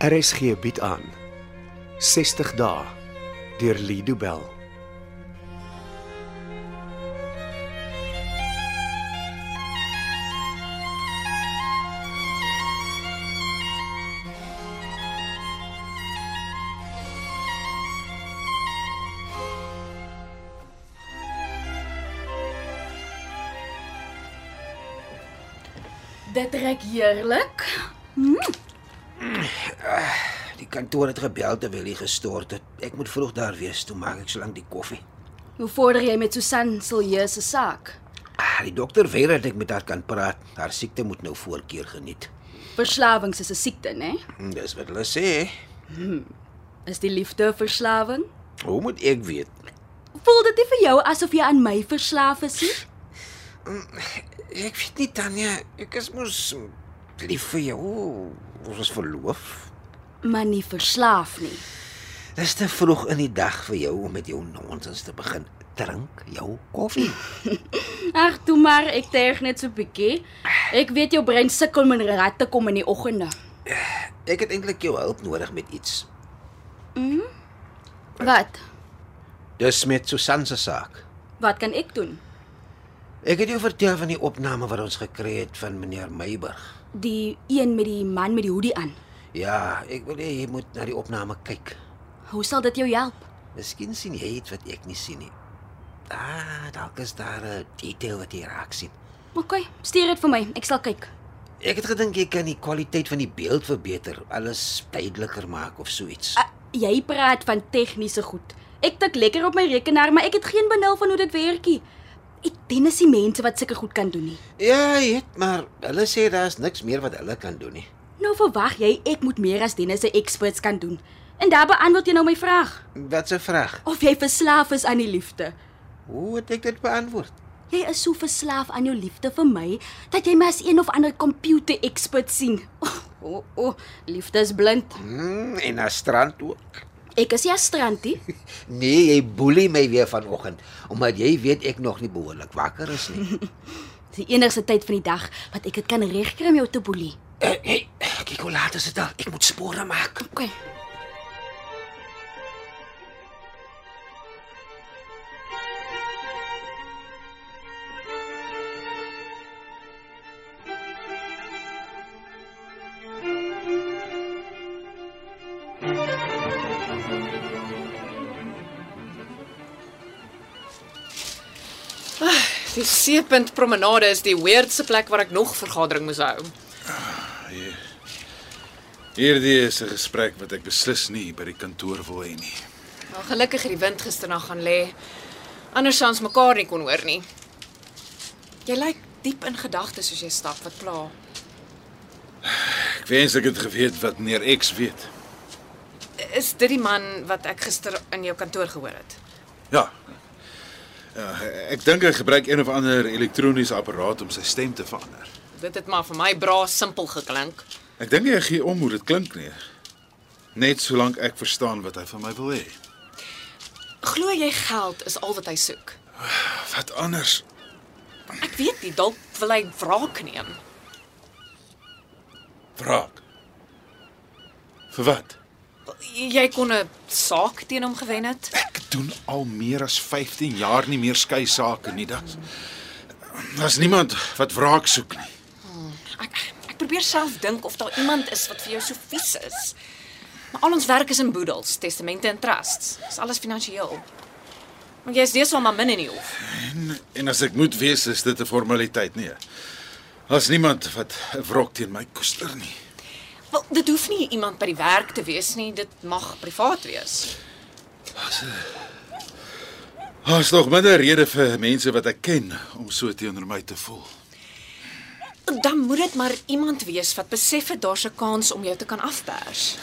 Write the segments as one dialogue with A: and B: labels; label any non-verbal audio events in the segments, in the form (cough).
A: RSG bied aan 60 dae deur Lido Bell.
B: Dit trek heerlik.
C: Die kantoor het gebel terwyl hy gestort het. Ek moet vroeg daar wees, toe maak ek solank die koffie.
B: Hoe vorder jy met Susan Silje se saak?
C: Ah, die dokter weier dat ek met haar kan praat. Haar siekte moet nou voorkeur geniet.
B: Verslawings is 'n siekte, né?
C: Hm, Dis wat hulle sê.
B: Is die liefde 'n verslawing?
C: Hoe moet ek weet?
B: Voel dit nie vir jou asof jy aan my verslaaf is nie?
C: Ek weet nie Tanya, ek is mos lief vir jou. Ons was verloof.
B: Maar nie verslaaf nie.
C: Dis te vroeg in die dag vir jou om met jou nonsens te begin. Drink jou koffie.
B: Ag, toe maar, ek terg net so bietjie. Ek weet jou brein sukkel met ratte kom in die oggende.
C: Ek het eintlik jou hulp nodig met iets.
B: Wat?
C: Dis met Susan se saak.
B: Wat kan ek doen?
C: Ek het jou vertel van die opname wat ons gekry het van meneer Meiburg.
B: Die een met die man met die hoodie aan.
C: Ja, ek wil hê jy moet na die opname kyk.
B: Hoe sal dit jou help?
C: Miskien sien jy iets wat ek nie sien nie. Ah, dalk is daar 'n detail wat jy raak sien.
B: OK, stuur dit vir my. Ek sal kyk.
C: Ek het gedink jy kan die kwaliteit van die beeld verbeter, alles duideliker maak of so iets.
B: Uh, jy praat van tegniese goed. Ek tik lekker op my rekenaar, maar ek het geen benul van hoe dit werk nie. Ek ken is die mense wat sulke goed kan doen nie.
C: Ja, jy het, maar hulle sê daar's niks meer wat hulle kan doen nie.
B: Nou verwag jy ek moet meer as Dennis se experts kan doen. En daar beantwoord jy nou my vraag
C: Wat 'n vraag.
B: of jy verslaaf is aan die liefde.
C: Hoe het ek dit beantwoord?
B: Jy is so verslaaf aan jou liefde vir my dat jy my as een of ander komputer expert sien. O, oh, o, oh, oh, liefde is blind.
C: Hmm, en na strand ook.
B: Ek is ja strantie.
C: Nee, jy boelie my weer vanoggend omdat jy weet ek nog nie behoorlik wakker is nie.
B: Dis die enigste tyd van die dag wat ek dit kan regkry om jou te boelie.
C: Hey, hey, kyk hoe Eh, laat is dit al. Ek moet spore maak.
B: OK.
D: Die Seepunt Promenade is die weirdste plek waar ek nog vergadering moes hou.
E: Hierdie is 'n gesprek wat ek beslis nie by die kantoor wil hê nie.
D: Maar gelukkig het die wind gisteraand gaan lê. Anders sou ons mekaar nie kon hoor nie. Jy lyk diep in gedagte soos jy stap, wat pla.
E: Ek wens ek het geweet wat meneer X weet.
D: Is dit die man wat ek gister in jou kantoor gehoor het?
E: Ja. Ja, ek dink hy gebruik een of ander elektroniese apparaat om sy stem te verander.
D: Dit het maar vir my bra simpel geklink.
E: Ek dink hy gee om hoe dit klink nie. Net solank ek verstaan wat hy van my wil hê.
D: Glo jy geld is al wat hy soek?
E: Wat anders?
D: Ek weet nie, dalk wil hy wraak neem.
E: Wraak. Vir wat?
D: Jy kon 'n saak teen hom gewen het.
E: Ek doen al meer as 15 jaar nie meer skei sake nie. Daar's daar's niemand wat wraak soek nie.
D: Ek ek probeer self dink of daar iemand is wat vir jou so vies is. Maar al ons werk is in boedels, testamente en trusts. Dis alles finansiëel. Maar jy is deesdae maar min in die hof.
E: En as ek moet wees, is dit 'n formaliteit, nee. Daar's niemand wat 'n wrok teen my koester nie.
D: Wel, dit hoef nie iemand by die werk te wees nie, dit mag privaat wees.
E: Daar's nog minder rede vir mense wat ek ken om so teenoor my te voel.
D: Dan moet dit maar iemand wees wat besef het daar's 'n kans om jou te kan afpers.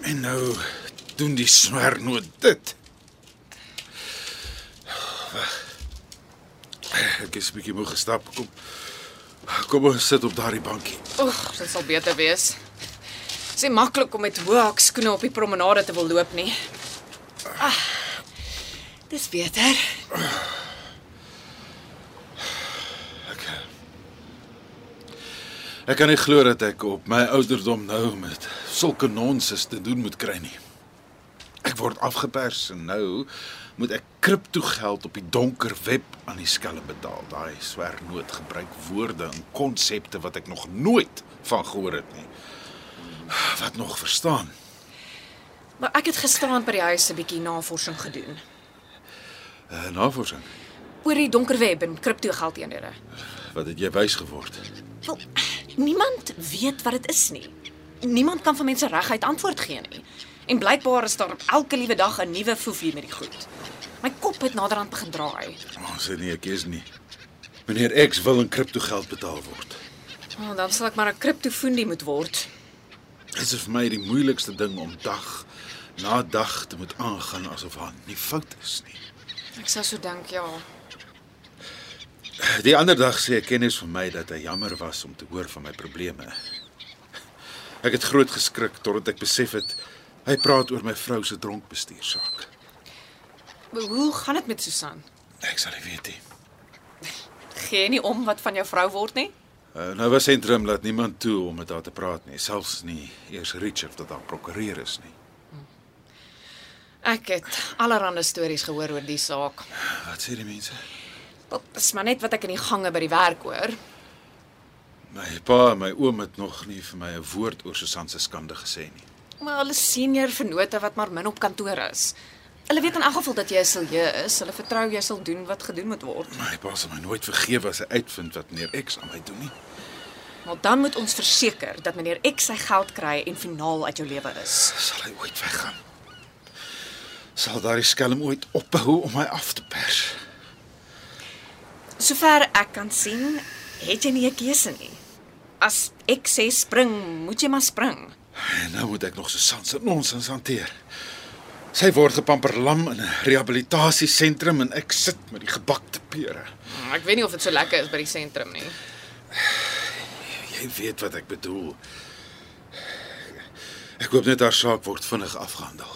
E: En nou doen die swernoot dit. Wag. Ek is 'n bietjie moeg gestap. Kom. Kom ons sit op daardie bankie.
D: Oeg, dit sal beter wees. Dit is nie maklik om met hoë hakskoene op die promenade te wil loop nie. Ah, dis beter.
E: Ek Ek kan nie glo dat ek op my ouderdom nou met sulke nonsens te doen moet kry nie. Ek word afgepers en nou moet ek kriptogeld op die donker web aan die skelm betaal. Daai swernoot gebruik woorde en konsepte wat ek nog nooit van gehoor het nie. Wat nog verstaan?
D: Maar ek het gisterand by die huis 'n bietjie navorsing gedoen
E: Uh, navorsing.
D: oor die donker web en kriptogeldeenhede.
E: Wat het jy wys geword?
D: Wel, niemand weet wat dit is nie. Niemand kan vir mense reguit antwoord gee nie. En blykbaar is daar op elke liewe dag 'n nuwe foefie met die goed. My kop het naderhand begin draai.
E: Ons het Oh, nie 'n keus nie. Meneer X wil in kriptogeld betaal word.
D: Oh, dan sal ek maar 'n kriptofoendie moet word.
E: Dit is vir my die moeilikste ding om dag na dag te moet aangaan asof haar nie fout is nie.
D: Ek sou so dink, ja.
E: Die ander dag sê 'n kennis van my dat hy jammer was om te hoor van my probleme. Ek het groot geskrik totdat ek besef het hy praat oor my vrou se dronkbestuursaak.
D: Maar Hoe gaan dit met Susan?
E: Ek sal nie weet nie.
D: Gee nie om wat van jou vrou word nie?
E: Uh, nou was sentrum laat niemand toe om met haar te praat nie, selfs nie eers Richard wat haar prokureur is nie.
D: Ek het allerlei stories gehoor oor die saak.
E: Wat sê die mense?
D: Wel, Dis maar net wat ek in die gange by die werk hoor.
E: My pa en my oom het nog nie vir my 'n woord oor Susan se skande gesê nie.
D: Maar hulle senior vennote wat maar min op kantoor is. Hulle weet in elk geval dat jy 'n silje is. Hulle vertrou jy sal doen wat gedoen moet word.
E: My pa sal my nooit vergewe as hy uitvind wat meneer X aan my doen nie.
D: Maar dan moet ons verseker dat meneer X sy geld kry en finaal uit jou lewe is.
E: Sal hy ooit weggaan? Sal daardie skelm ooit ophou om my af te pers?
D: Sover ek kan sien, het jy nie 'n keuse nie. As ek sê spring, moet jy maar spring.
E: En nou moet ek nog Susan se nonsens hanteer. Sy word gepamperlam in 'n rehabilitasiesentrum en ek sit met die gebakte pere.
D: Ek weet nie of dit so lekker is by die sentrum nie.
E: Jy weet wat ek bedoel. Ek hoop net haar saak word vinnig afgehandel.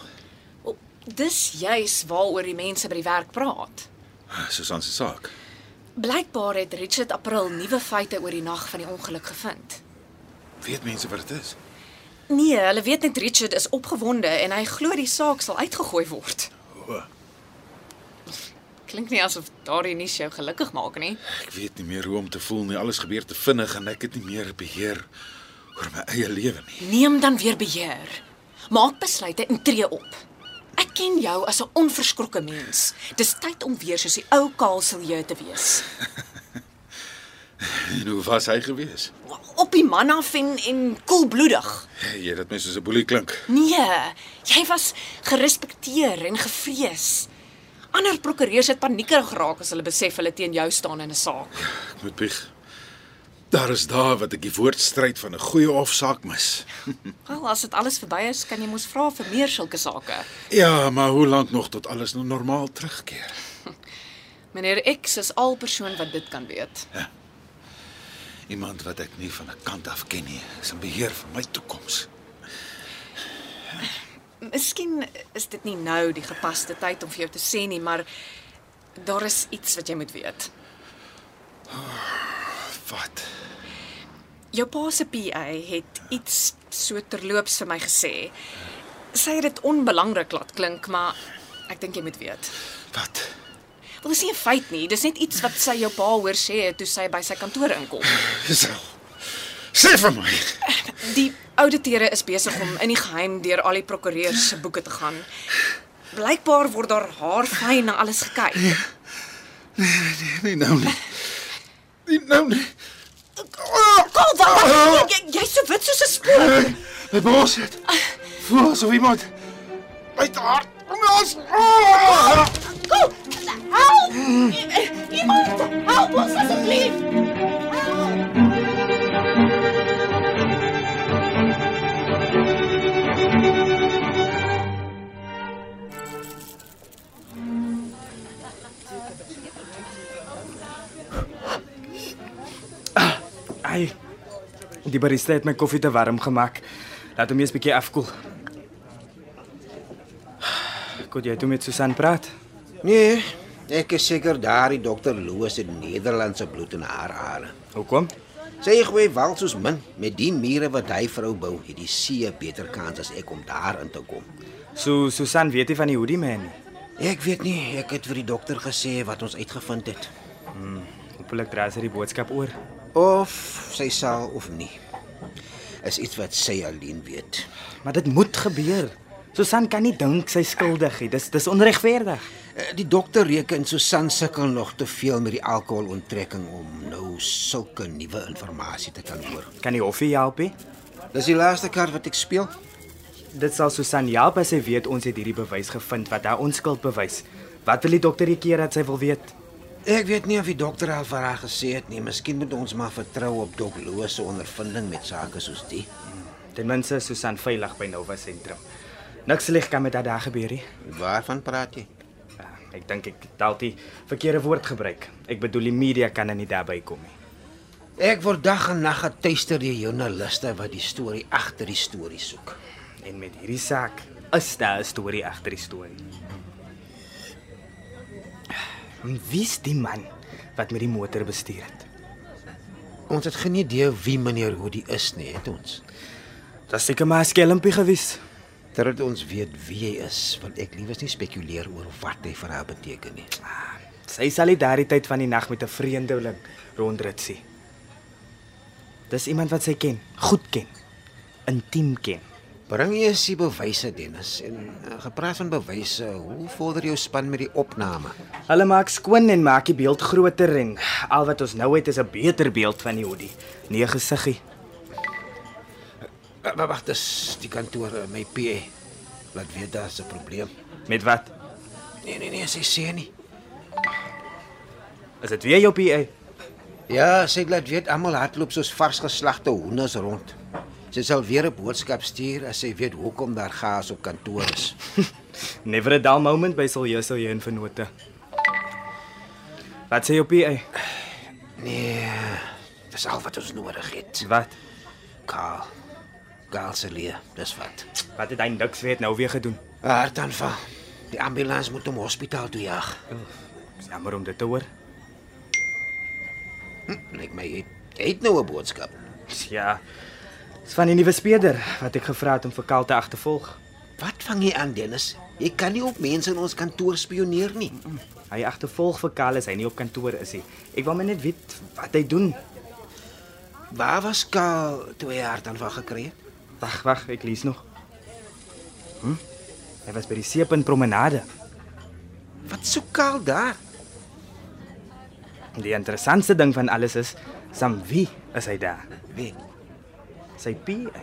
D: Wel, dis juis waaroor die mense by die werk praat.
E: Susan se Ah, saak.
D: Blykbaar het Richard April nuwe feite oor die nag van die ongeluk gevind.
E: Weet mense wat dit is?
D: Nee, hulle weet net Richard is opgewonde en hy glo die saak sal uitgegooi word.
E: O,
D: Klink nie asof daardie nuus jou gelukkig maak nie.
E: ek weet nie meer hoe om te voel nie. Alles gebeur te vinnig en ek het nie meer beheer oor my eie lewe nie. (laughs)
D: Neem dan weer beheer. Maak besluite en tree op. Ek ken jou as 'n onverskrokke mens. Dis tyd om weer soos die ou kaalsilje te wees.
E: En hoe was hy gewees?
D: Op die man af en en koelbloedig.
E: Hey, jy laat my soos 'n boelie klink.
D: Nee, jy was gerespekteer en gevrees. Ander prokureurs het paniekerig geraak as hulle besef hulle teen jou staan in 'n saak.
E: Ek moet bieg. Daar is daar wat ek die woordstryd van 'n goeie hofsaak mis.
D: Wel, as dit alles verby is, kan jy mos vra vir meer sulke sake.
E: Ja, maar hoe lank nog tot alles nou normaal terugkeer?
D: Meneer X is al persoon wat dit kan weet.
E: Iemand wat ek nie van 'n kant af ken nie, is in beheer van my toekoms.
D: Miskien is dit nie nou die gepaste tyd om vir jou te sê nie, maar daar is iets wat jy moet weet.
E: Wat?
D: Jou pa se PA het iets so terloops vir my gesê. Sy het dit onbelangrik laat klink, maar ek dink jy moet weet.
E: Wat?
D: Wel, dis nie 'n feit nie, dis net iets wat sy jou pa hoor sê toe sy by sy kantoor inkom.
E: Sal. Sê vir my. (laughs)
D: Die ouditeure is besig om in die geheim deur al die prokureurs se boeke te gaan. Blykbaar word daar haar fyn na alles gekyk.
E: Nee, nee, nou nie. Nee, nou nie.
D: Kom dan. Jy's so wit soos 'n spoor.
E: My bors het. Voel asof iemand my hart om my hals. Ah!
F: Ai. Die barista het my koffie te warm gemaak. Laat hom eers 'n bietjie afkoel. Kon jy toe met Susan praat?
C: Nee, ek is seker daardie dokter Loos het Nederlandse bloed in haar are.
F: Hoekom?
C: Sy gooi wel soos min met die mure wat hy vrou bou, het die see 'n beter kans as ek om daarin te kom.
F: So Susan weet nie van die hoodie man nie.
C: Ek weet nie, ek het vir die dokter gesê wat ons uitgevind het.
F: Hopelik dra sy die boodskap oor.
C: Of sy sal of nie. Is iets wat sy alleen weet.
F: Maar dit moet gebeur. Susan kan nie dink sy skuldig nie. Dis dis onregverdig.
C: Eh, Die dokter reken Susan sukkel nog te veel met die alkoholontrekking om nou sulke nuwe inligting te kan hoor.
F: Kan die hoffie help? He?
C: Dis die laaste kaart wat ek speel.
F: Dit sal Susan help as sy weet ons het hierdie bewys gevind wat haar onskuld bewys. Wat wil die dokter die keer dat sy wil weet?
C: Ek weet nie of die dokter al vir haar gesê het nie. Miskien moet ons maar vertrou op Dok Loos se ondervinding met sake soos die.
F: Ten minste is Susan veilig by Nova sentrum. Niks sleg kan met haar daar gebeur nie.
C: Waarvan praat jy?
F: Ah, Ek dink ek het dalk die verkeerde woord gebruik. Ek bedoel die media kan er nie daarby kom nie.
C: Ek word dag en nag getuister deur joernaliste wat die storie agter die storie soek.
F: En met hierdie saak is daar 'n storie agter die storie. En wie's die man wat met die motor bestuur het?
C: Ons het geen idee wie meneer Hoodie is nie, het ons.
F: Dit is seker maar 'n skelmpie gewees.
C: Terwyl ons weet wie hy is, wil ek liewers nie spekuleer oor wat hy vir haar beteken nie.
F: Sy sal nie daardie tyd van die nag met 'n vreemdeling rondritsie. Dis iemand wat sy ken, goed ken, intiem ken.
C: Bring eers die bewyse, Dennis. En eh, gepraat van bewyse, hoe vorder jou span met die opname?
F: Hulle maak skoon en maak die beeld groter en al wat ons nou het is 'n beter beeld van die hoodie. Nee gesiggie.
C: Eh, Maar wag, dis die kantoor, eh, my PA. Laat weet daar's 'n probleem.
F: Met wat?
C: Nee nee nee, sy sê nie.
F: Is dit weer jou PA?
C: Ja, sy laat weet almal hardloop soos vars geslagte hoenders rond. Sy sal weer 'n boodskap stuur as sy weet hoekom daar gaas op kantoor is.
F: (laughs) Never a dull moment by Siljoso hier in Vennote. Wat sê jou PA?
C: Nee, dis al wat ons nodig het.
F: Wat?
C: Kaal. Kaal se leer, dis wat.
F: Wat het hy niks weet nou weer gedoen?
C: 'n Hartaanval. Die ambulans moet hom hospitaal toe jaag.
F: Dis jammer om dit te hoor.
C: Lyk my hy het- hy het nou 'n boodskap.
F: Ja. Dis van die nuwe speeder wat ek gevra het om vir Kaal te agtervolg.
C: Wat vang jy aan, Dennis? Jy kan nie op mense in ons kantoor spioneer nie.
F: Hy agtervolg vir Kaal as hy nie op kantoor is nie. Ek wou maar net weet wat hy doen.
C: Waar was Kaal toe hy hartaanval gekry het?
F: Wag, wag, ek lees nog. Hm? Hy was by die Seepunt Promenade.
C: Wat soek Kaal daar?
F: Die interessantste ding van alles is, saam wie is hy daar?
C: Wie?
F: Sy PA.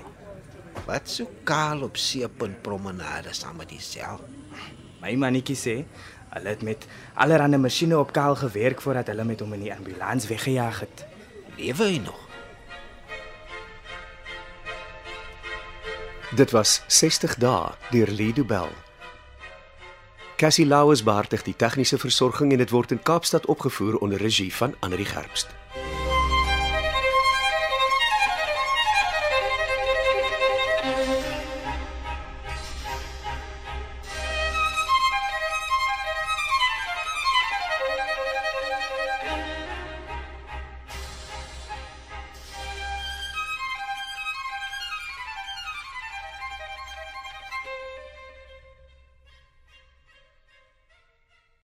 C: Wat soek Kaal op Seepunt Promenade saam met dieself?
F: My mannetjie sê hulle het met allerlei masjiene op Kaal gewerk voordat hulle met hom in die ambulans weggejaag het.
C: Lewe hy nog?
A: Dit was 60 dae deur Lido Bell. Cassie Lauers beheer die tegniese versorging en dit word in Kaapstad opgevoer onder regie van Anri Gerbst.